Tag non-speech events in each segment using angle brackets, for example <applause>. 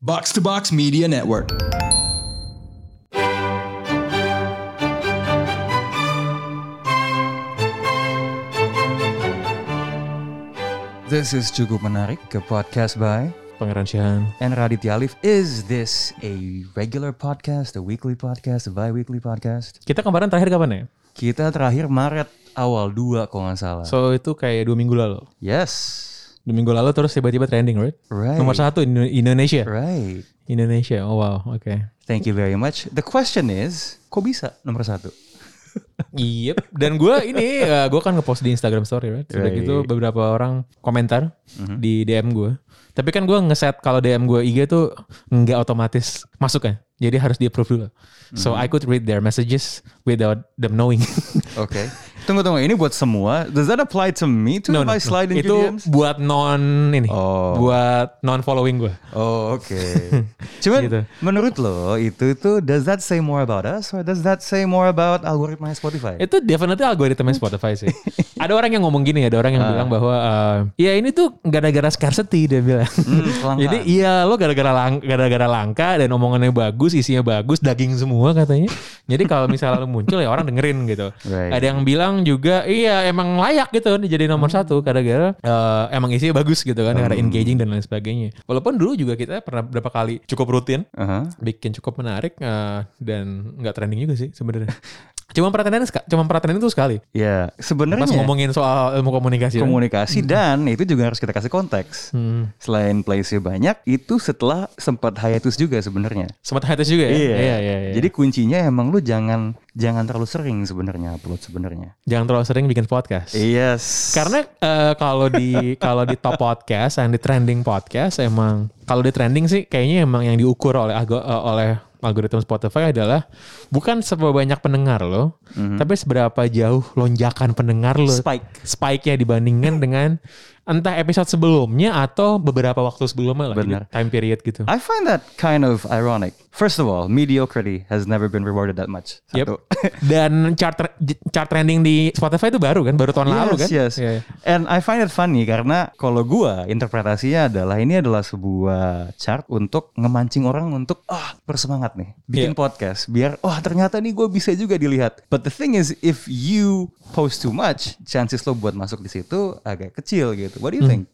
Box to Box Media Network. This is cukup menarik ke podcast by Pangeran Syahan. and Raditya Alif. Is this a regular podcast, a weekly podcast, a bi-weekly podcast? Kita kemarin terakhir kapan ya? Kita terakhir Maret awal 2 kalau nggak salah. So itu kayak dua minggu lalu. yes, Dua minggu lalu terus tiba-tiba trending, right? Right. Nomor satu Indo- Indonesia. right. Indonesia. Oh wow, oke. <laughs> Thank you very much. The question is, kok bisa nomor satu? Yep. Dan gue ini, eh, gue kan ngepost di Instagram Story, right? Sudah Right. Mm-hmm. gitu beberapa orang komentar di DM gue. Tapi kan gue ngeset kalau DM gue IG tuh nggak otomatis masuk kan. Jadi harus di approve dulu. So Mm-hmm. I could read their messages without them knowing. <laughs> <laughs> Oke. Tunggu tunggu, ini buat semua. Does that apply to me too if No, no, I no. slide into Itu DMs? buat non ini, Oh. buat non following gue. Oh, oke. <laughs> Cuman Gitu. menurut lo itu tuh does that say more about us or does that say more about algoritma Spotify? Itu definitely algoritma Spotify sih. <laughs> ada orang yang ngomong gini, ada orang yang bilang bahwa eh, ya ini tuh gara-gara scarcity dia bilang. kelangkaan. <laughs> Jadi iya lo gara-gara lang- gara-gara langka dan omongannya bagus, isinya bagus, daging semua katanya. Jadi kalau misalnya lo muncul ya orang dengerin gitu. Right. Ada yang bilang juga iya emang layak gitu jadi nomor satu gara-gara eh, emang isinya bagus gitu kan, karena engaging dan lain sebagainya. Walaupun dulu juga kita pernah berapa kali cukup rutin Aha. bikin cukup menarik eh, dan nggak trending juga sih sebenarnya. <laughs> Cuma perhatian cuma perhatian itu sekali. Ya, Pas sebenarnya ngomongin soal ilmu komunikasi. kan? komunikasi dan itu juga harus kita kasih konteks. Hmm. Selain plays-nya banyak, itu setelah sempat hiatus juga sebenarnya. Iya. Sempat hiatus juga ya. Jadi kuncinya emang lu jangan jangan terlalu sering sebenarnya upload sebenarnya. jangan terlalu sering bikin podcast. Iya. Yes. Karena eh, kalau di <laughs> kalau di top podcast yang di trending podcast emang kalau di trending sih kayaknya emang yang diukur oleh algo- eh, oleh algoritma Spotify adalah bukan seberapa banyak pendengar lo, tapi seberapa jauh lonjakan pendengar lo. Spike. Spike-nya dibandingkan dengan entah episode sebelumnya atau beberapa waktu sebelumnya lah. Jadi Benar. Time period gitu. I find that kind of ironic. First of all, mediocrity has never been rewarded that much. Yep. Satu. Dan chart chart trending di Spotify itu baru kan, baru tahun Yes, lalu kan? yes. Iya. And I find it funny karena kalau gua interpretasinya adalah ini adalah sebuah chart untuk ngemancing orang untuk ah bersemangat nih bikin Yeah. podcast biar wah ternyata nih gue bisa juga dilihat. But the thing is if you post too much, chances lo buat masuk di situ agak kecil gitu. What Hmm. do you think?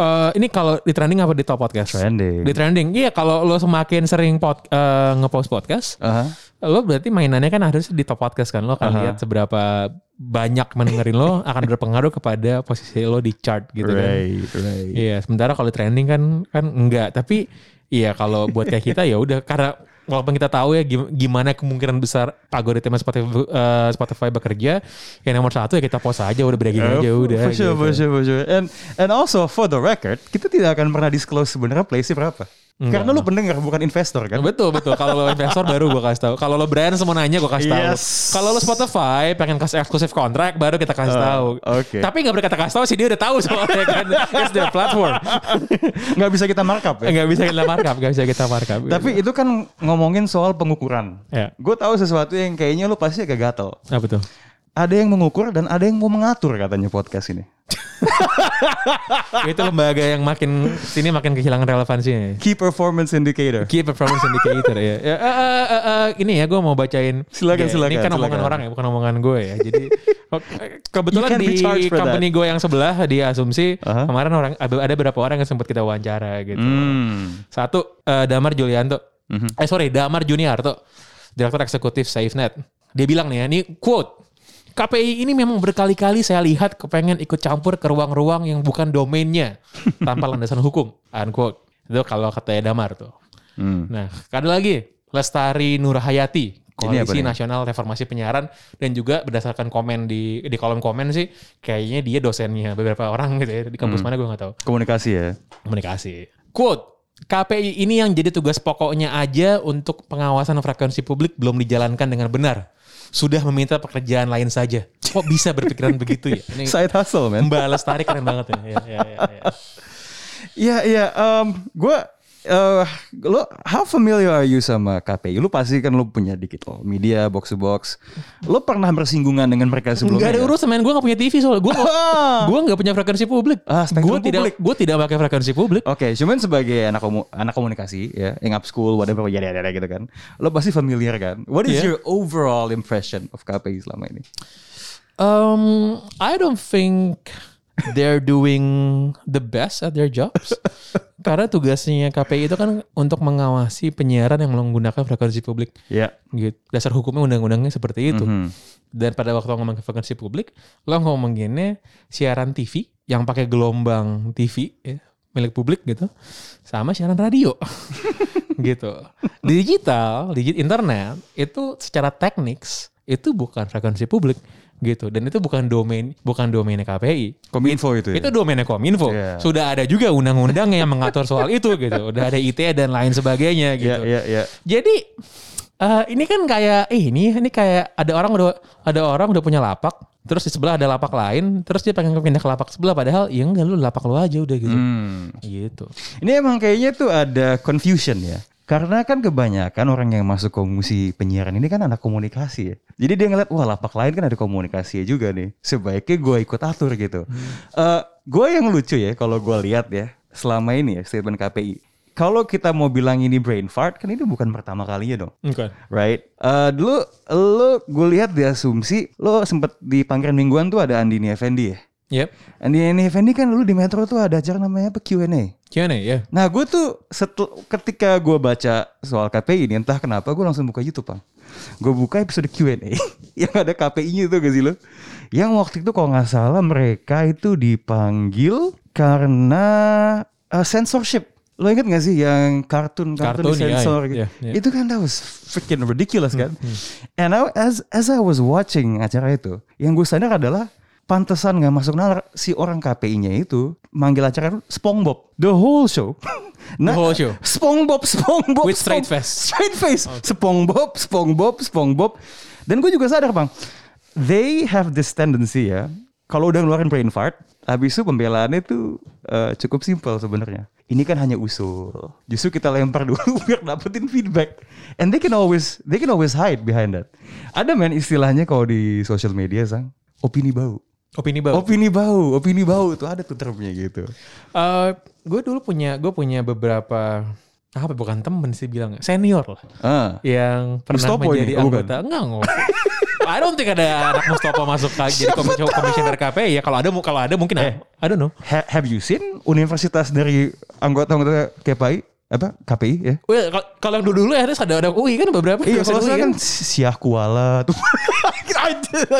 Eh, ini kalau di trending apa di top podcast? Trending. Di trending. Iya, kalau lo semakin sering pod, eh, ngepost podcast, Aha. lo berarti mainannya kan harus di top podcast kan. Lo akan lihat seberapa banyak mendengarin <laughs> lo akan berpengaruh kepada posisi lo di chart gitu kan. right. Iya, sementara kalau trending kan kan enggak, tapi iya kalau buat kayak kita ya udah karena walaupun kita tahu ya gim- gimana kemungkinan besar algoritma Spotify, eh, Spotify bekerja, ya nomor satu ya kita post aja udah breaking aja Oh, udah. for sure, gitu. for sure, for sure. And and also for the record, kita tidak akan pernah disclose sebenarnya place-nya berapa. Karena lu pendengar bukan investor kan? Betul betul. Kalau lo investor baru gue kasih tahu. Kalau lo brand semua nanya gue kasih tahu. Yes. Ah, Kalau lo Spotify pengen kasih eksklusif kontrak baru kita kasih tahu. oke. Tapi nggak berkata kasih tahu sih dia udah tahu soalnya <laughs> kan. It's their platform. nggak bisa kita markup ya. Nggak bisa kita markup, nggak bisa kita markup. Tapi itu kan ngomongin soal pengukuran. Ya. Gue tahu sesuatu yang kayaknya lu pasti agak gatel. apa tuh? Ada yang mengukur dan ada yang mau mengatur katanya podcast ini. Itu lembaga yang makin sini makin kehilangan relevansinya. ya. Key performance indicator. Key performance indicator ya. ya eh, eh, eh, eh, ini ya gue mau bacain. Silakan, Ya, silakan, Ini kan omongan silakan. orang ya, bukan omongan gue ya. Jadi ok, kebetulan You can di be charged for Uh-huh. company gue yang sebelah di asumsi Aha. kemarin orang ada beberapa orang yang sempat kita wawancara gitu. Hmm. Mm-hmm. Satu eh, Damar Julianto. Eh sorry Damar Juniarto, direktur eksekutif SafeNet. Dia bilang nih ya, ini quote. KPI ini memang berkali-kali saya lihat kepengen ikut campur ke ruang-ruang yang bukan domainnya tanpa <laughs> landasan hukum. Unquote. Itu kalau kata Damar tuh. Hmm. Nah, ada lagi Lestari Nurhayati, Ini apa nih? Koalisi Nasional Reformasi Penyiaran dan juga berdasarkan komen di di kolom komen sih kayaknya dia dosennya beberapa orang gitu ya di kampus Hmm. mana gue nggak tahu Komunikasi ya. komunikasi. Quote, KPI ini yang jadi tugas pokoknya aja untuk pengawasan frekuensi publik belum dijalankan dengan benar. Sudah meminta pekerjaan lain saja. Kok bisa berpikiran <laughs> begitu ya? Ini Side hustle, man. Mbak Lestari keren banget ya. ya, ya, ya, ya. Iya, iya. em, gua eh lo how familiar are you sama KPI? Lo pasti kan lo punya dikit lo media box to box. Lo pernah bersinggungan dengan mereka sebelumnya? Gak ada ya? urusan men, gue gak punya TV soalnya gue <laughs> Ah. gue gak punya frekuensi publik. Ah, spektrum gue tidak publik. gue tidak pakai frekuensi publik. Oke, cuman sebagai anak komu- anak komunikasi ya, yang up school, whatever, ya, ya, ya, gitu kan. Lo pasti familiar kan? What is Iya. your overall impression of KPI selama ini? Um, I don't think they're doing the best at their <laughs> jobs. Karena tugasnya KPI itu kan untuk mengawasi penyiaran yang menggunakan frekuensi publik. Ya. Gitu. Dasar hukumnya undang-undangnya seperti itu. Dan pada waktu lo ngomong ke frekuensi publik, lo ngomonginnya siaran TV yang pakai gelombang TV ya, milik publik gitu, sama siaran radio. gitu. Di digital, di internet itu secara teknik itu bukan frekuensi publik gitu dan itu bukan domain bukan domainnya KPI Kominfo itu ya? itu domainnya Kominfo. Iya. Sudah ada juga undang-undangnya yang mengatur soal itu gitu. Udah ada ITE dan lain sebagainya gitu. Ya, ya, ya. Jadi eh, ini kan kayak eh, ini ini kayak ada orang udah ada orang udah punya lapak, terus di sebelah ada lapak lain, terus dia pengen pindah ke lapak sebelah padahal ya enggak lu lapak lu aja udah gitu. Hmm. Gitu. Ini emang kayaknya tuh ada confusion ya. Karena kan kebanyakan orang yang masuk komisi penyiaran ini kan anak komunikasi ya. Jadi dia ngeliat, wah lapak lain kan ada komunikasi juga nih. Sebaiknya gue ikut atur gitu. Eh, gue yang lucu ya kalau gue lihat ya. Selama ini ya statement KPI. Kalau kita mau bilang ini brain fart, kan ini bukan pertama kalinya dong. Oke. Right? Eh, dulu lo gue lihat di asumsi, lo sempet di panggilan mingguan tuh ada Andini Effendi ya. Yep. Andini Effendi kan dulu di Metro tuh ada acara namanya apa Q&A. Gimana ya? Nah gue tuh setel, ketika gue baca soal KPI ini entah kenapa gue langsung buka YouTube bang. Gue buka episode Q&A <laughs> yang ada KPI-nya itu gak sih lo? Yang waktu itu kalau nggak salah mereka itu dipanggil karena uh, censorship. Lo inget gak sih yang kartun kartun, Kartun, ya, disensor ya, gitu? ya, ya. Itu kan that was freaking ridiculous kan? Hmm. And I, as as I was watching acara itu, yang gue sadar adalah pantesan nggak masuk nalar si orang KPI-nya itu manggil acara itu SpongeBob the whole show. <laughs> Nah, whole show. SpongeBob, SpongeBob With straight Spong- face. Straight face. SpongeBob, SpongeBob, SpongeBob. Dan gue juga sadar, Bang. They have this tendency ya. Kalau udah ngeluarin brain fart, habis itu pembelaannya tuh eh, cukup simpel sebenarnya. Ini kan hanya usul. Justru kita lempar <laughs> dulu biar dapetin feedback. And they can always they can always hide behind that. Ada men istilahnya kalau di social media, Sang, opini bau. Opini bau. Opini bau, opini bau tuh ada tuh termnya gitu. Eh, gue dulu punya gue punya beberapa ah, apa bukan temen sih bilang senior lah Ah. yang pernah Mustopo menjadi ini? Oh, bukan. anggota enggak enggak I don't think ada anak Mustopo masuk ke jadi komis- komisioner KPI ya kalau ada mu- kalau ada Eh. mungkin ada. I don't know Ha- have you seen universitas dari anggota-anggota KPI apa KPI ya? well kalau- kalau yang dulu dulu akhirnya ada ada UI kan beberapa Iya kalau dosen UI saya kan Siah Kuala tuh. <laughs>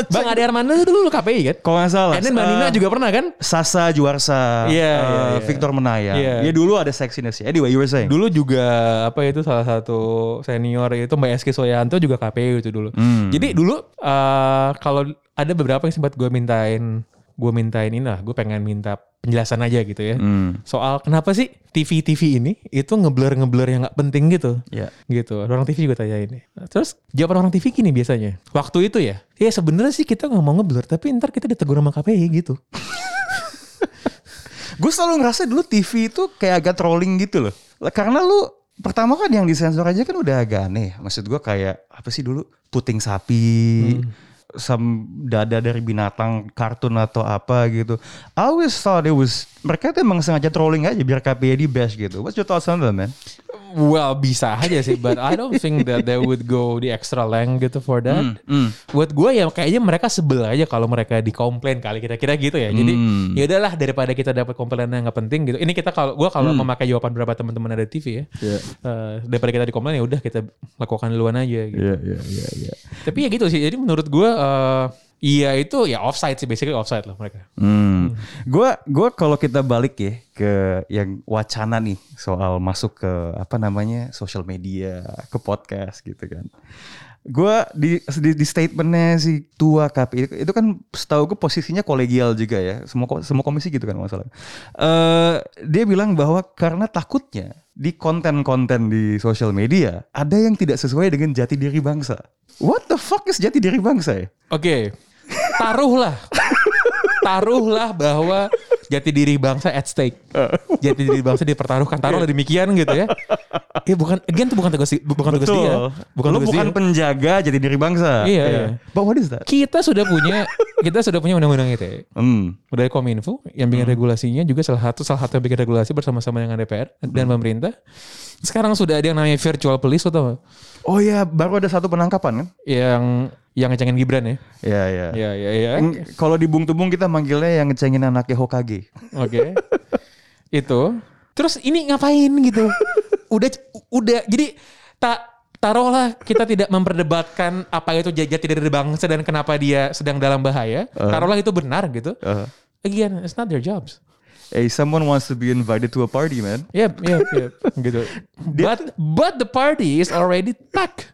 Bang Ade Armando tuh dulu KPI kan kalau nggak salah. and then Mbak eh, Nina juga pernah kan Sasa Juarsa, eh, Iya, iya, iya. Victor Menaya. Iya. Dia dulu ada seksiness ya. Anyway, you were saying. dulu juga apa itu salah satu senior itu Mbak Eski Soyanto juga KPU itu dulu. Jadi dulu eh, kalau ada beberapa yang sempat gue mintain, gue mintain ini lah, gue pengen minta penjelasan aja gitu ya. Hmm. Soal kenapa sih TV-TV ini itu ngeblur ngeblur yang nggak penting gitu. Iya. Gitu. Ada Orang TV juga tanya ini. Terus jawaban orang TV gini biasanya. Waktu itu ya. Ya sebenarnya sih kita nggak mau ngeblur tapi ntar kita ditegur sama KPI gitu. Gue selalu ngerasa dulu TV itu kayak agak trolling gitu loh. Lah, Karena lu pertama kan yang disensor aja kan udah agak aneh. ya. Maksud gue kayak apa sih dulu puting sapi, some dada dari binatang kartun atau apa gitu. I always thought it was mereka tuh emang sengaja trolling aja biar KPI di bash gitu. What's your thoughts on that man? Well bisa aja sih, but I don't think that they would go the extra length gitu for that. Hmm. Buat gue ya kayaknya mereka sebel aja kalau mereka dikomplain kali kira-kira gitu ya. Jadi ya udahlah daripada kita dapat komplain yang nggak penting gitu. Ini kita kalau gue kalau memakai jawaban beberapa teman-teman ada di TV ya, eh, daripada kita dikomplain ya udah kita lakukan duluan aja. Gitu. Iya iya iya iya. Tapi ya gitu sih. Jadi menurut gue eh, iya itu ya offside sih, basically offside lah mereka. Hmm. Gua gua kalau kita balik ya ke yang wacana nih soal masuk ke apa namanya social media, ke podcast gitu kan. Gua di di, di statementnya si tua KPI itu- itu kan setahu gue posisinya kolegial juga ya. Semua ko- semua komisi gitu kan masalah. Eh dia bilang bahwa karena takutnya di konten-konten di social media ada yang tidak sesuai dengan jati diri bangsa. What the fuck is jati diri bangsa ya? Oke, taruhlah, taruhlah bahwa jati diri bangsa at stake. Jati diri bangsa dipertaruhkan. Taruhlah Iya. demikian gitu ya. Ya bukan, again itu bukan tugas bukan tugas dia. Bukan Bukan Lu tugas bukan dia. penjaga jadi diri bangsa. Iya, iya. But what is that? Kita sudah punya kita sudah punya undang-undang ITE. Hmm. Dari Kominfo yang bikin regulasinya juga salah satu salah satu yang bikin regulasi bersama-sama dengan DPR dan Hmm. pemerintah. Sekarang sudah ada yang namanya virtual police atau Oh iya, baru ada satu penangkapan kan? yang yang ngecengin Gibran ya. Iya, iya. Iya, iya, iya. Yang- Kalau di Bung-Tubung kita manggilnya yang ngecengin anaknya Hokage. Oke. itu. Terus ini ngapain gitu? Udah udah jadi tak taruhlah kita tidak memperdebatkan apa itu jajat tidak dari bangsa dan kenapa dia sedang dalam bahaya. Uh-huh. Taruhlah itu benar gitu. Uh, Again, it's not their jobs. hey, someone wants to be invited to a party, man. Yep, yep, <laughs> yep. gitu. But but the party is already packed.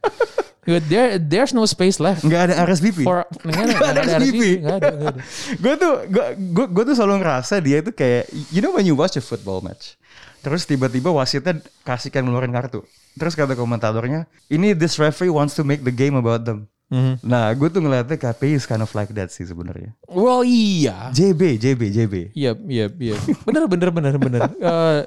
Gitu, There there's no space left Nggak ada RSVP. for Nggak nggak ada, ada nggak ada SPP. RSVP, nggak ada, nggak ada. gue tuh gue gue gue tuh selalu ngerasa dia tuh kayak you know when you watch a football match terus tiba-tiba wasitnya kasihkan ngeluarin kartu terus kata komentatornya ini this referee wants to make the game about them Mhm. nah gue tuh ngeliatnya KPI is kind of like that sih sebenarnya Well, iya. JB JB JB Iya, iya, iya. Bener, bener, <laughs> bener, bener. Eh,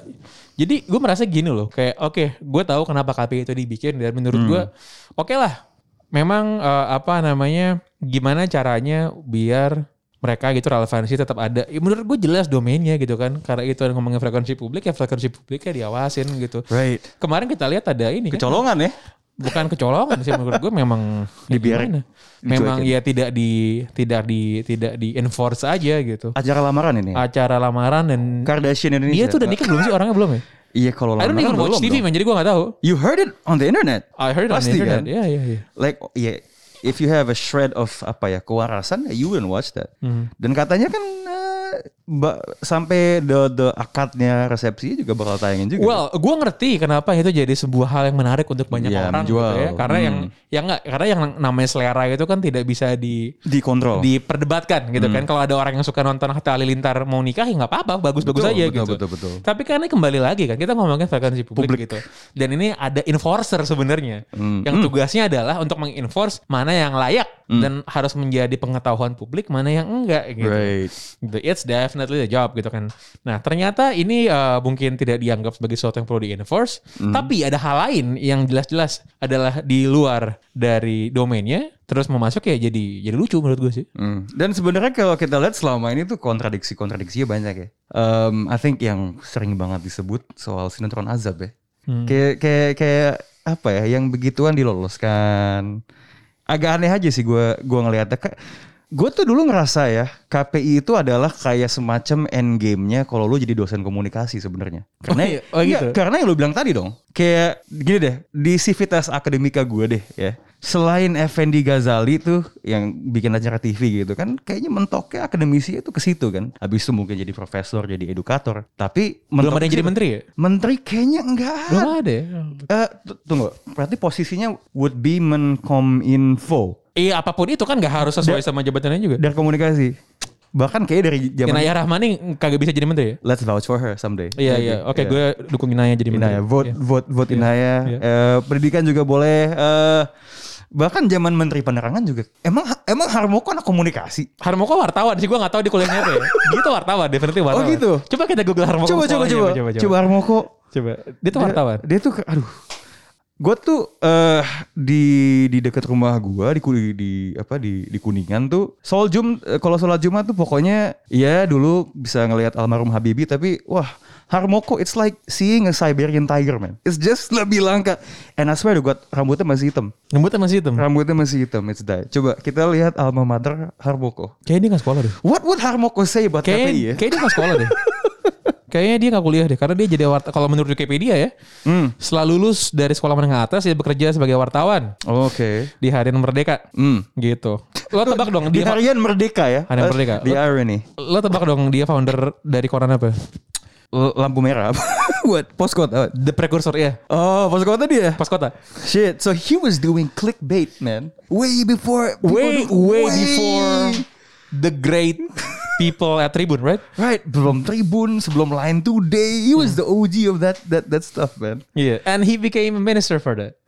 jadi gue merasa gini loh, kayak oke, gue tahu kenapa KPI itu dibikin dan menurut gue, Hmm. oke lah, memang eh, apa namanya, gimana caranya biar mereka gitu relevansi tetap ada. Ya, menurut gue jelas domainnya gitu kan, karena itu yang ngomongin frekuensi publik ya frekuensi publiknya diawasin gitu. right Kemarin kita lihat ada ini kan, kecolongan ya bukan kecolongan sih menurut gue memang ya Dibiarin. gimana? Memang Dicuekin. ya tidak di tidak di tidak di enforce aja gitu acara lamaran ini acara lamaran dan Kardashian dia Indonesia tuh udah nikah belum sih orangnya belum ya? iya kalau I don't lamaran even watch belum TV dong. man, jadi gue gak tahu. you heard it on the internet I heard it on the Pasti kan? internet. Iya, iya, iya. like ya if you have a shred of apa ya kewarasan you wouldn't watch that Mm-hmm. dan katanya kan eh, ba- sampai the the akadnya resepsi juga bakal tayangin juga Well, gue ngerti kenapa itu jadi sebuah hal yang menarik untuk banyak Iya, orang menjual. gitu ya. Karena Hmm. yang yang nggak, karena yang namanya selera itu kan tidak bisa di dikontrol diperdebatkan gitu Hmm. kan. Kalau ada orang yang suka nonton Hatta Halilintar mau nikah ya nggak apa-apa, bagus-bagus Betul, aja betul, gitu. betul, betul. Tapi karena kembali lagi kan kita ngomongin frekuensi publik, gitu. Dan ini ada enforcer sebenarnya Hmm. yang tugasnya adalah untuk mengenforce mana yang layak dan harus menjadi pengetahuan publik mana yang enggak gitu. right The- It's definitely the job gitu kan. Nah ternyata ini eh, mungkin tidak dianggap sebagai sesuatu yang perlu di enforce. Hmm. Tapi ada hal lain yang jelas-jelas adalah di luar dari domainnya. Terus mau masuk ya jadi jadi lucu menurut gue sih. Hmm. Dan sebenarnya kalau kita lihat selama ini tuh kontradiksi-kontradiksinya banyak ya. Em, I think yang sering banget disebut soal sinetron azab ya. Hmm. Kayak kayak kayak apa ya yang begituan diloloskan. Agak aneh aja sih gua gua ngelihatnya. Gue tuh dulu ngerasa ya KPI itu adalah kayak semacam end game-nya kalau lu jadi dosen komunikasi sebenarnya. Karena Oh iya, oh Iya, gitu. karena yang lu bilang tadi dong, kayak gini deh, di civitas akademika gue deh ya. Selain Effendi Ghazali tuh yang bikin acara TV gitu kan, kayaknya mentoknya akademisi itu ke situ kan. Habis itu mungkin jadi profesor, jadi edukator. Tapi Belum mentok ada yang ke jadi situ. menteri ya? Menteri kayaknya enggak. Belum ada ya? Eh, t- tunggu, berarti posisinya would be Menkominfo Iya apapun itu kan gak harus sesuai sama jabatannya juga. dari komunikasi. Bahkan kayaknya dari zaman Inaya Rahmani kagak bisa jadi menteri ya? Let's vouch for her someday. ya, Iya iya. Oke gue dukung Inaya jadi menteri. Inaya, vote, Iya. vote, vote Inaya. iya. Eh, pendidikan juga boleh. Eh, bahkan zaman Menteri Penerangan juga. Emang emang Harmoko anak komunikasi. Harmoko wartawan sih gue gak tahu di kuliahnya <laughs> apa ya. gitu wartawan, definitely wartawan. gitu. Coba kita google Harmoko. Coba coba coba, sekolahnya, coba coba, coba. Harmoko. Coba. Dia tuh Dia- wartawan. Dia, tuh, ke- aduh. Gue tuh eh di di dekat rumah gue di, Ku- di apa di di Kuningan tuh Sol Jum eh, kalau sholat Jumat tuh pokoknya ya dulu bisa ngelihat almarhum Habibie tapi wah Harmoko it's like seeing a Siberian tiger man it's just <laughs> lebih langka and I swear to God rambutnya masih hitam Rambutnya masih hitam. Rambutnya masih hitam, it's dye. Coba kita lihat alma mater Harmoko. Kayaknya dia gak sekolah deh. What would Harmoko say about Kayaknya, KPI ya? kayaknya dia gak <laughs> sekolah deh. Kayaknya dia gak kuliah deh. Karena dia jadi wartawan. Kalau menurut Wikipedia ya. Hmm. Setelah lulus dari sekolah menengah atas. Dia bekerja sebagai wartawan. Oke. Di harian merdeka. Oh, Hmm. Gitu. Lo tebak dong. Di Dia harian merdeka ya? Harian merdeka. Di irony. Lo tebak dong dia founder dari koran apa? L- Lampu merah. <laughs> What? Postcode. Oh, The Precursor ya. oh postcode tadi ya? Pas kota. Shit. So he was doing clickbait, man. Way before. people Way, do- way before the great people at Tribun, right? <laughs> Right. Belum Tribun, sebelum Line Today. He was the OG of that that that stuff, man. Iya. Yeah. And he became a minister for that.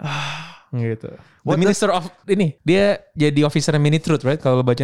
gitu. The What the- Minister of ini dia jadi officer mini truth right kalau lo baca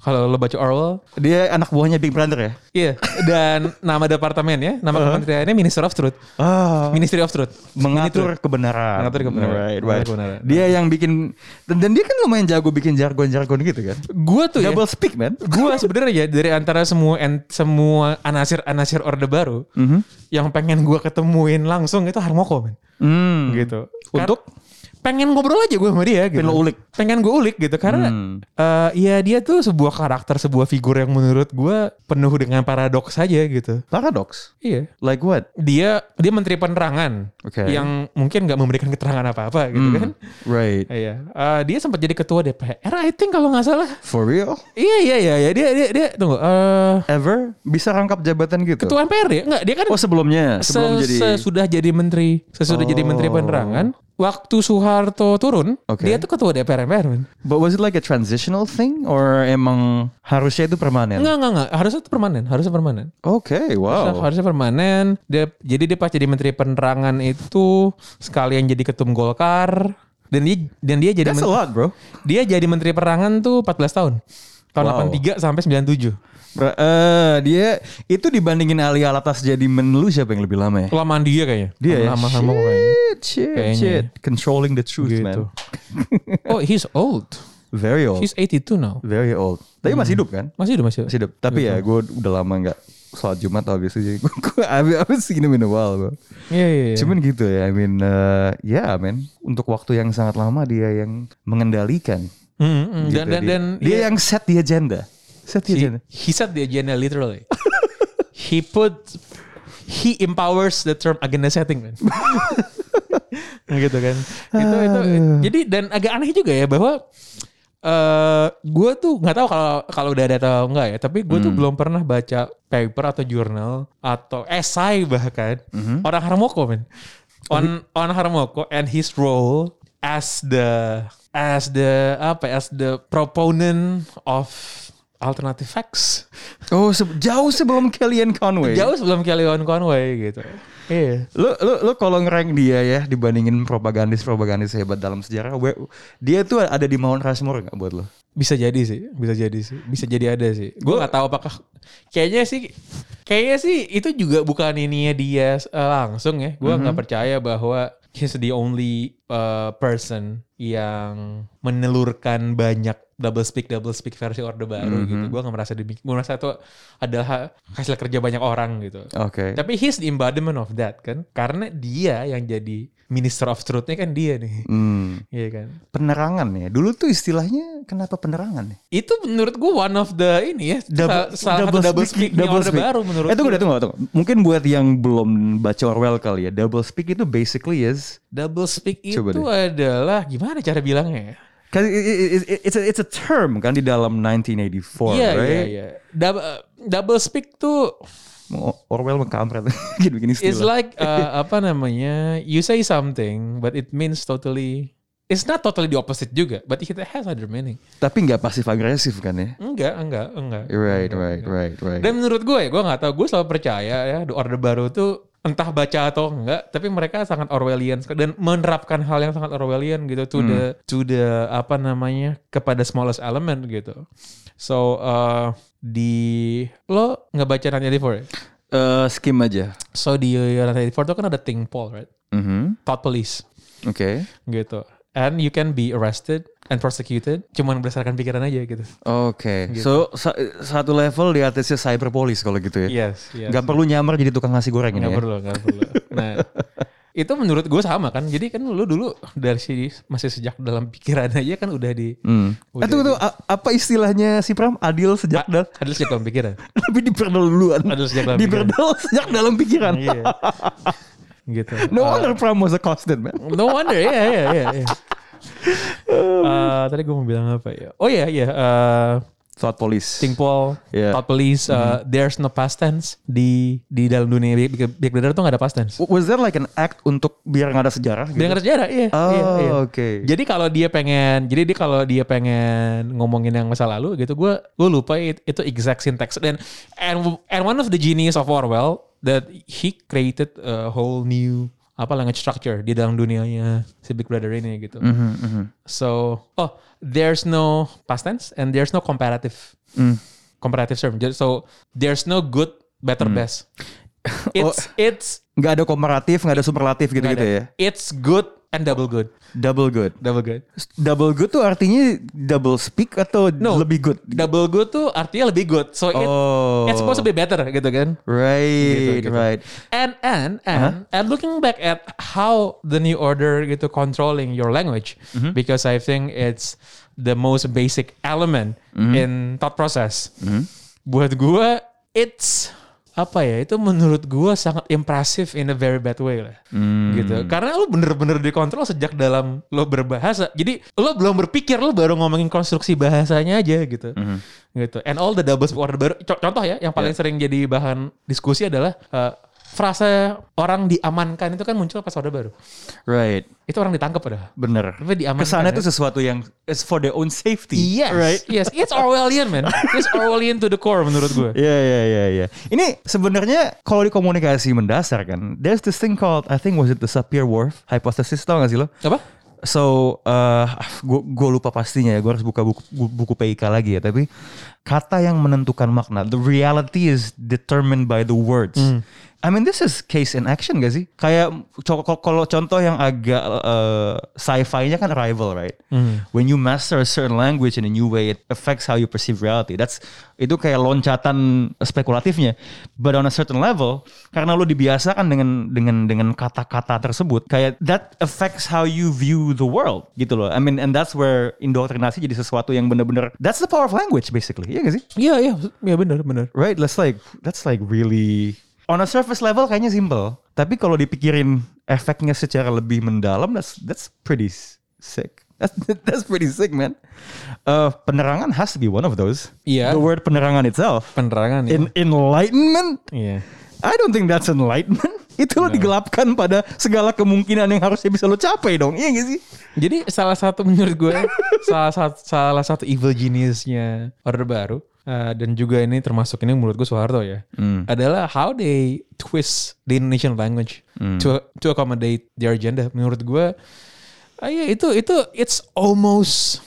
kalau lo baca Orwell. Dia anak buahnya Big Brother ya? Iya, dan nama departemen ya, nama kementeriannya Minister of Truth. Ah, Ministry of Truth. mengatur kebenaran. Oh. Mengatur kebenaran. Right, Mengatur right. kebenaran. Dia yang bikin dan, dan dia kan lumayan jago bikin jargon-jargon gitu kan. Gue tuh ya, Double speak, man. gue sebenarnya ya dari antara semua en- semua anasir-anasir Orde Baru, Mhm. yang pengen gue ketemuin langsung itu Harmoko men. Hmm. Gitu. Untuk? Kar- pengen ngobrol aja gue sama dia gitu. Pengen lo ulik. Pengen gue ulik gitu karena Hmm. eh, ya dia tuh sebuah karakter, sebuah figur yang menurut gue penuh dengan paradoks aja gitu. Paradox. Iya. Like what? Dia dia menteri penerangan Oke. Hmm. yang mungkin nggak memberikan keterangan apa-apa gitu kan. Right. Iya, Eh, dia sempat jadi ketua DPR, I think kalau nggak salah. For real? Iya iya iya, iya. dia dia dia tunggu. eh Ever bisa rangkap jabatan gitu? ketua MPR ya? Enggak, dia kan Oh sebelumnya, se- sebelum jadi. sesudah jadi menteri, sesudah jadi menteri Oh. penerangan. Waktu Soeharto turun, Oke. dia tuh ketua DPR MPR. Men. But was it like a transitional thing or emang harusnya itu permanen? Enggak enggak enggak, harusnya itu permanen, harusnya permanen. Oke, Harusnya- wow. Harusnya permanen. Dia jadi dia pas jadi menteri penerangan itu sekalian jadi ketum Golkar dan dia dan dia jadi That's a men- lot, bro. dia jadi menteri penerangan tuh 14 tahun. Tahun Wow. 83 sampai 97. Bra- eh, dia itu dibandingin Ali Alatas jadi menlu siapa yang lebih lama ya? Lamaan dia kayaknya. Dia ya. Lama sama kayaknya. Shit, shit, Kayaknya. shit. Controlling the truth, Gitu. man. Oh, he's old. Very old. He's 82 now. very old. Tapi masih hidup kan? Masih udah masih. Masih hidup. Tapi ya gue udah lama nggak sholat Jumat obviously. <laughs> Jadi gue gue I haven't seen him in a while, bro. Iya, iya, iya. Cuman gitu ya, I mean, eh, ya man. Untuk waktu yang sangat lama dia yang mengendalikan. Mm, mm. dan gitu. dan dan dia, dia yang set the agenda. Set the he, agenda. he set the agenda literally. <laughs> he put he empowers the term agenda setting man. <laughs> gitu kan. Itu itu jadi dan agak aneh juga ya bahwa eh gue tuh nggak tahu kalau kalau udah ada atau enggak ya tapi gue tuh belum pernah baca paper atau jurnal atau esai bahkan orang Harmoko men on on Harmoko and his role as the as the apa ya, as the proponent of alternative facts Oh, se- jauh sebelum Kellyanne Conway. jauh sebelum Kellyanne Conway gitu iya Lu lu lu kalau ngerank dia ya dibandingin propagandis-propagandis hebat dalam sejarah, we- dia tuh ada di Mount Rushmore nggak buat lo? bisa jadi sih bisa jadi sih bisa jadi ada sih gue nggak tahu apakah kayaknya sih kayaknya sih itu juga bukan ininya dia eh, langsung ya gue nggak percaya bahwa he's the only eh, person yang menelurkan banyak double speak double speak versi orde baru gitu gue nggak merasa demikian gue merasa itu adalah hasil kerja banyak orang gitu Oke. tapi he's the embodiment of that kan karena dia yang jadi minister of truth-nya kan dia nih Hmm. iya kan Penerangan ya. Dulu tuh istilahnya kenapa penerangan ya? itu menurut gue one of the ini ya sa- salah satu double speak, double speak. baru menurut Eh, tunggu gua. deh, tunggu, tunggu. Mungkin buat yang belum baca Orwell kali ya, double speak itu basically is double speak itu Coba adalah gimana cara bilangnya ya kan i- i- i- it's a, it's a term kan di dalam 1984, iya right? iya iya Dub- uh, double speak tuh Mau- Orwell mengkampret <laughs> gini-gini is istilah. <laughs> like uh, apa namanya you say something but it means totally it's not totally the opposite juga but it has other meaning Tapi nggak pasif agresif kan ya? enggak enggak enggak Right, right, right, right. Dan menurut gue ya, gue gak tahu gue selalu percaya ya The Order Baru tuh entah baca atau enggak, tapi mereka sangat Orwellian sekali dan menerapkan hal yang sangat Orwellian gitu to the to the apa namanya kepada smallest element gitu. So uh, di lo nggak baca Nanti ya? Eh, skim aja. So di Nanti itu kan ada Think Poll, right? Mhm. Thought Police Oke. gitu. And you can be arrested and prosecuted cuman berdasarkan pikiran aja gitu. Oke. So sa- satu level di atasnya cyberpolis kalau gitu ya. Yes, yes. Gak perlu nyamar jadi tukang nasi goreng ini Iya, Nggak ya. perlu, nggak perlu. <laughs> Nah, itu menurut gue sama kan. Jadi kan lu dulu dari sini masih sejak dalam pikiran aja kan udah di Hmm. Eh, Udah tunggu, tunggu. A- apa istilahnya si Pram? Adil sejak dalam ada ada sejak dalam pikiran. <laughs> tapi diperdol duluan. Adil sejak dalam Diperdol sejak dalam pikiran. Iya. gitu. <laughs> No wonder Pram was accosted, man. No wonder, ya, ya, ya. <laughs> Ah, tadi gue mau bilang apa ya? Oh iya, iya. eh, Thought police. Think Paul, Iya. Thought Police, eh, there's no past tense di di dalam dunia Big, Big, Big Brother tuh gak ada past tense. W- Was there like an act untuk biar nggak ada sejarah? Gitu? Bilang sejarah, iya. Oh, iya, iya. oke. Jadi kalau dia pengen, jadi dia kalau dia pengen ngomongin yang masa lalu gitu, gue gue lupa it- itu exact syntax dan and and one of the genius of Orwell that he created a whole new apa language structure di dalam dunianya si Big Brother ini gitu. Mhm, mhm. So, oh, there's no past tense and there's no comparative Mm. comparative term. Just- So, there's no good, better, Mm. best. <laughs> Oh. It's it's Nggak ada komparatif, nggak ada superlatif gitu-gitu ya. it's good and double good. Double good. Double good. Double good tuh artinya double speak atau No. lebih good? Double good tuh artinya lebih good. So it, Oh. it's supposed to be better gitu kan. Right, Gitu, gitu. right. And and and and looking back at how the new order gitu controlling your language because I think it's the most basic element in thought process. Buat gua it's apa ya itu menurut gua sangat impressive in a very bad way lah gitu karena lu bener-bener dikontrol sejak dalam lo berbahasa jadi lo belum berpikir lo baru ngomongin konstruksi bahasanya aja gitu gitu and all the double speak order baru co- contoh ya yang paling sering jadi bahan diskusi adalah eh, frasa orang diamankan itu kan muncul pas order baru Right. itu orang ditangkap padahal Bener. Tapi diamankan, Kesannya ya. tuh sesuatu yang it's for their own safety. yes Right. yes it's Orwellian man it's Orwellian to the core menurut <laughs> gue Iya iya iya iya. Ini sebenarnya kalau di komunikasi mendasar kan, there's this thing called I think was it the Sapir-Whorf hypothesis tau gak sih lo? apa So, eh gue lupa pastinya ya, gue harus buka buku, buku PIK lagi ya. Tapi kata yang menentukan makna, the reality is determined by the words. I mean, this is case in action gak sih? Kayak co- ko- kalau contoh yang agak eh, sci-fi-nya kan Arrival, right? When you master a certain language in a new way, it affects how you perceive reality. That's itu kayak loncatan spekulatifnya. But on a certain level, karena lo dibiasakan dengan dengan dengan kata-kata tersebut, kayak that affects how you view the world gitu loh. I mean, and that's where indoktrinasi jadi sesuatu yang bener-bener that's the power of language basically. Iya gak sih? iya iya iya benar benar Right, that's like that's like really on a surface level kayaknya simple, tapi kalau dipikirin efeknya secara lebih mendalam, that's that's pretty s- sick. <laughs> That's that's pretty sick, man. Uh, penerangan has to be one of those. Iya. The word penerangan itself. penerangan ya In enlightenment? iya I don't think that's enlightenment. <laughs> Itu lo digelapkan pada segala kemungkinan yang harusnya bisa lo capai dong. Iya gak sih? Jadi salah satu menurut gue <laughs> salah satu salah satu evil geniusnya Orde Baru eh, dan juga ini termasuk ini menurut gue Soeharto ya adalah how they twist the Indonesian language to to accommodate their agenda. Menurut gue, ah, ya, itu itu it's almost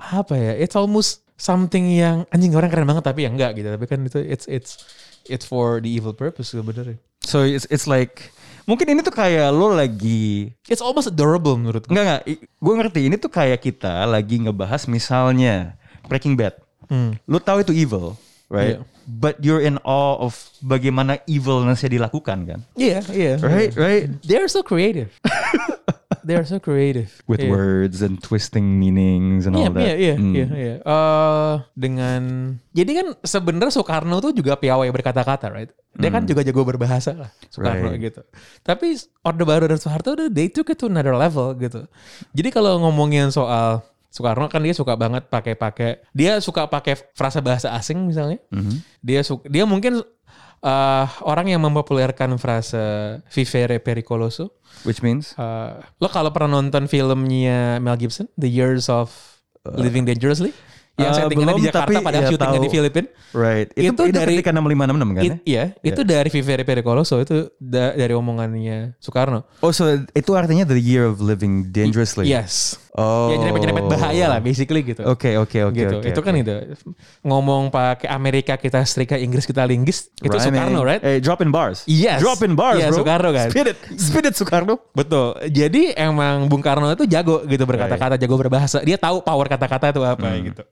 apa ya? It's almost something yang anjing orang keren banget tapi ya enggak gitu. Tapi kan itu it's it's it's for the evil purpose sebenarnya. So it's it's like mungkin ini tuh kayak lo lagi It's almost adorable menurut gue. Enggak enggak, gue ngerti ini tuh kayak kita lagi ngebahas misalnya Breaking Bad. Lu tahu itu evil, right? Hmm. Iya. But you're in awe of bagaimana evilness-nya dilakukan kan? Iya, iya. Right, right. They're so <laughs> creative. They're so creative. With Yeah. words and twisting meanings and Iya, all that. iya, iya, Hmm. iya, iya. Eh, dengan jadi kan sebenarnya Soekarno tuh juga piawai berkata-kata, right? Dia kan juga jago berbahasa lah, Soekarno Hmm. Right. gitu. Tapi Orde Baru dan Soeharto tuh they took it to another level gitu. Jadi kalau ngomongin soal Soekarno kan dia suka banget pakai-pakai, dia suka pakai frasa bahasa asing misalnya. Hmm. Mm-hmm. Dia suka, dia mungkin eh, orang yang mempopulerkan frasa vivere pericoloso. Which means Uh, lo kalau pernah nonton filmnya Mel Gibson, The Years of Living Dangerously, yang uh, Eh, settingnya belum, di Jakarta tapi padahal ya syutingnya di tahu. Filipina. right. Itu, Itu itu, dari- ketika 6566 kan? It, ya? ya, itu dari Vivere Pericoloso itu da- dari omongannya Soekarno. Oh, so itu artinya the year of living dangerously. Yes. Oh. Ya nyerempet-nyerempet bahaya lah basically gitu. Oke, oke, oke, Gitu. oke. itu kan itu ngomong pakai Amerika kita setrika, Inggris kita linggis, itu Soekarno, right? Eh, drop in bars. Yes. Drop in bars, Iya, bro. Soekarno kan. Spit it. Spit it, Soekarno. Betul. Jadi emang Bung Karno itu jago gitu berkata-kata, jago berbahasa. Dia tahu power kata-kata itu apa Hmm. gitu.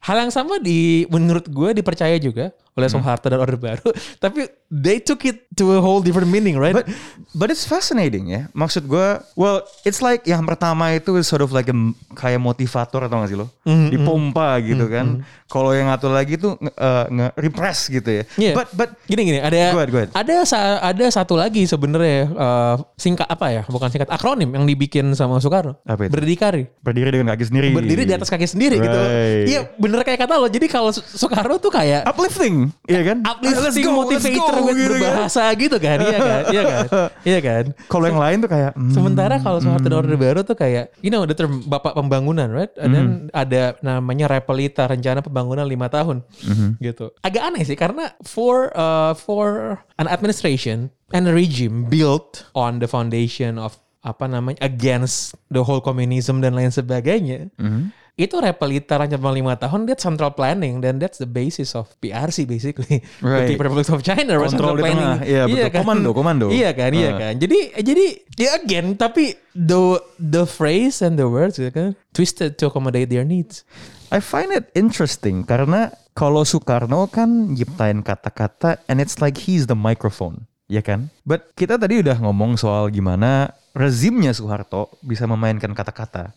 Hal yang sama di menurut gue dipercaya juga oleh Soeharto Hmm. dan Orde Baru. <laughs> Tapi they took it to a whole different meaning, right? But but it's fascinating ya. Maksud gua well, it's like yang pertama itu is sort of like a, kayak motivator atau nggak sih lo? Dipompa gitu kan. Kalau yang satu lagi tuh nge- eh, nge-repress gitu ya. Iya. But but gini gini ada Go ahead, go ahead. ada sa- ada satu lagi sebenarnya eh, singkat apa ya? Bukan singkat akronim yang dibikin sama Soekarno. Apa itu? Berdikari. berdiri dengan kaki sendiri. Berdiri di atas kaki sendiri gitu. Right. Iya, bener kayak kata lo. Jadi kalau Soekarno tuh kayak Uplifting uplifting, iya kan? uplifting go, let's motivator go, with gitu kan. berbahasa gitu kan iya kan iya kan iya kan <laughs> Kalau yang lain tuh kayak hmm, sementara kalau soal dan order baru tuh kayak you know the term bapak pembangunan right dan Hmm. ada namanya Repelita rencana pembangunan lima tahun Hmm. gitu agak aneh sih karena for uh, for an administration and a regime built on the foundation of apa namanya against the whole communism dan lain sebagainya Hmm. itu Repelita rencana lima tahun that's central planning dan that's the basis of PRC basically <laughs> Right. the People's Republic of China was Kontrol central di planning tengah. Iya, betul. Komando, komando. iya kan iya Ah. kan jadi jadi ya again tapi the the phrase and the words gitu kan twisted to accommodate their needs I find it interesting karena kalau Soekarno kan nyiptain kata-kata and it's like he's the microphone, ya kan? But kita tadi udah ngomong soal gimana rezimnya Soeharto bisa memainkan kata-kata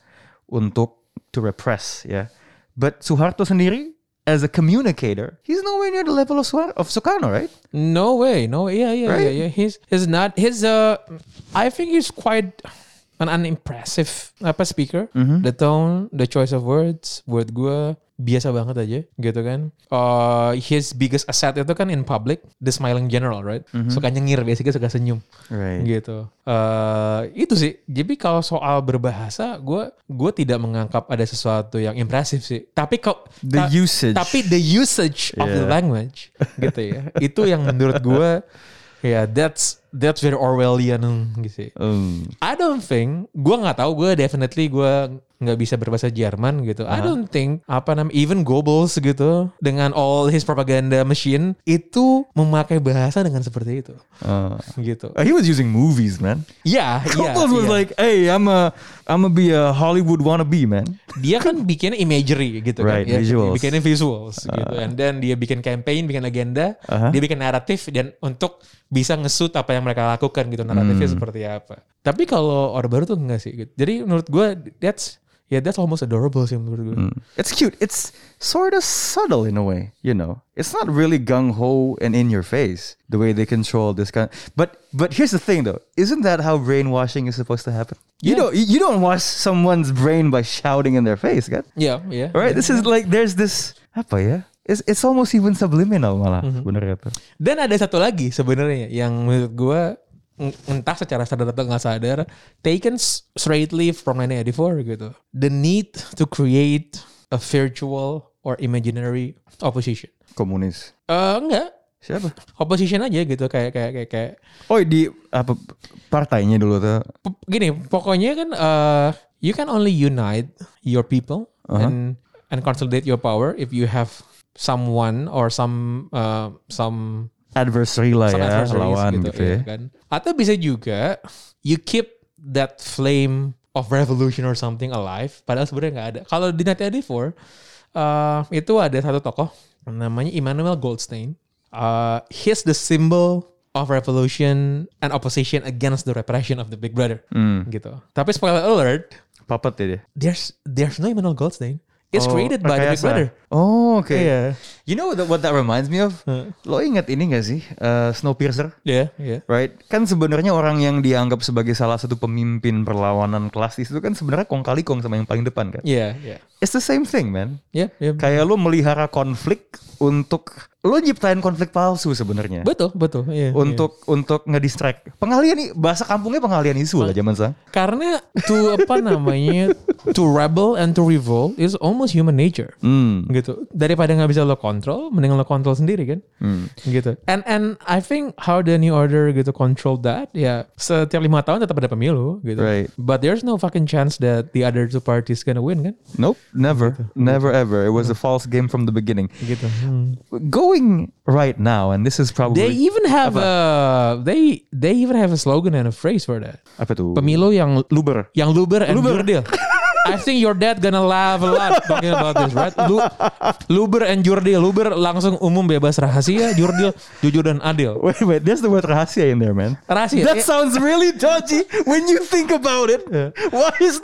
untuk to repress, ya. But Soeharto sendiri as a communicator, he's nowhere near the level of, Soeharto, of Soekarno, right? no way no way. yeah yeah Right. yeah yeah he's he's not he's uh I think he's quite an unimpressive apa speaker Mm-hmm. the tone the choice of words buat gue biasa banget aja gitu kan uh, his biggest asset itu kan in public the smiling general right Mm-hmm. suka nyengir basically suka senyum Right. gitu eh itu sih jadi kalau soal berbahasa gue gue tidak menganggap ada sesuatu yang impresif sih tapi kok The usage. tapi the usage of the Yeah. language gitu ya <laughs> itu yang menurut gue ya that's that's very Orwellian gitu sih. Um, I don't think gue nggak tahu gue definitely gue nggak bisa berbahasa Jerman gitu. I Uh-huh. don't think apa namanya even Goebbels gitu dengan all his propaganda machine itu memakai bahasa dengan seperti itu uh, gitu. he was using movies, man. Ya, ya, Couples was ya. like, "Hey, I'm a, I'm a be a Hollywood wannabe, man." dia kan bikinnya imagery gitu Right, kan, ya, visuals. Ah. bikinnya visuals gitu, and then dia bikin campaign, bikin agenda, Uh-huh. dia bikin naratif dan untuk bisa ngesut apa yang mereka lakukan gitu naratifnya Hmm. seperti apa. Tapi kalau Orde Baru tuh enggak sih. Gitu. Jadi menurut gua that's ya that's almost adorable sih menurut gue. It's cute. It's sort of subtle in a way, you know. It's not really gung ho and in your face the way they control this kind. But but here's the thing though, isn't that how brainwashing is supposed to happen? You Yeah. don't you don't wash someone's brain by shouting in their face, kan? Ya, ya. Right? This is like there's this apa ya? It's it's almost even subliminal malah bener itu. Dan ada satu lagi sebenarnya yang menurut gua en- entah secara sadar atau nggak sadar taken s- straightly from 1984 gitu. The need to create a virtual or imaginary opposition. Komunis. Eh enggak, Siapa? opposition aja gitu kayak kayak kayak kayak Oh di apa partainya dulu tuh. P- gini, pokoknya kan eh you can only unite your people and and consolidate your power if you have someone or some eh, some Adversary lah Sangat ya, adversaries lawan gitu, iya ya. kan. Atau bisa juga you keep that flame of revolution or something alive padahal sebenarnya nggak ada. Kalau di 1984 uh, itu ada satu tokoh namanya Immanuel Goldstein. Uh, he's the symbol of revolution and opposition against the repression of the Big Brother Hmm. gitu. Tapi spoiler alert, Puppet ya dia. there's there's no Immanuel Goldstein. It's Oh, created by the Big rekayasa. Brother. Oh, oke. Iya. You know that- what that reminds me of? Lo ingat ini gak sih? Eh, Snowpiercer, Iya, iya. right? Kan sebenarnya orang yang dianggap sebagai salah satu pemimpin perlawanan kelas itu kan sebenarnya kong kali kong sama yang paling depan kan? Iya, iya. It's the same thing, man. Iya, iya. Kayak lo melihara konflik untuk lo nyiptain konflik palsu sebenarnya. Betul, betul. Iya. iya. Untuk untuk ngedistract. Pengalian nih bahasa kampungnya pengalian isu lah zaman sang. Karena to apa namanya to rebel and to revolt is almost human nature. Hmm. Gitu. Daripada nggak bisa lo kontrol, mending lo kontrol sendiri kan. Gitu. And and I think how the new order gitu control that ya setiap lima tahun tetap ada pemilu gitu. Right. But there's no fucking chance that the other two parties gonna win kan. Nope, never, never ever. It was a false game from the beginning. Gitu. Hmm. Going right now, and this is probably They even have a they they even have a slogan and a phrase for that. apa tuh? Pemilu yang Luber. yang luber and jurdil. I think your dad gonna laugh a lot talking about this, right? Lu, luber and jurdil. Luber langsung umum bebas rahasia, jurdil jujur dan adil. Wait, wait, there's the word rahasia in there, man. Rahasia. That Eh, sounds really dodgy when you think about it. Why is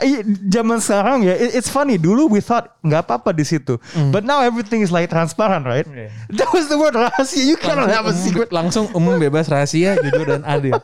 I- zaman sekarang ya? it- It's funny. Dulu we thought nggak apa-apa di situ, Hmm. but now everything is like transparent, right? That was the word rahasia. You cannot have a langsung, secret. langsung umum bebas rahasia, jujur dan adil.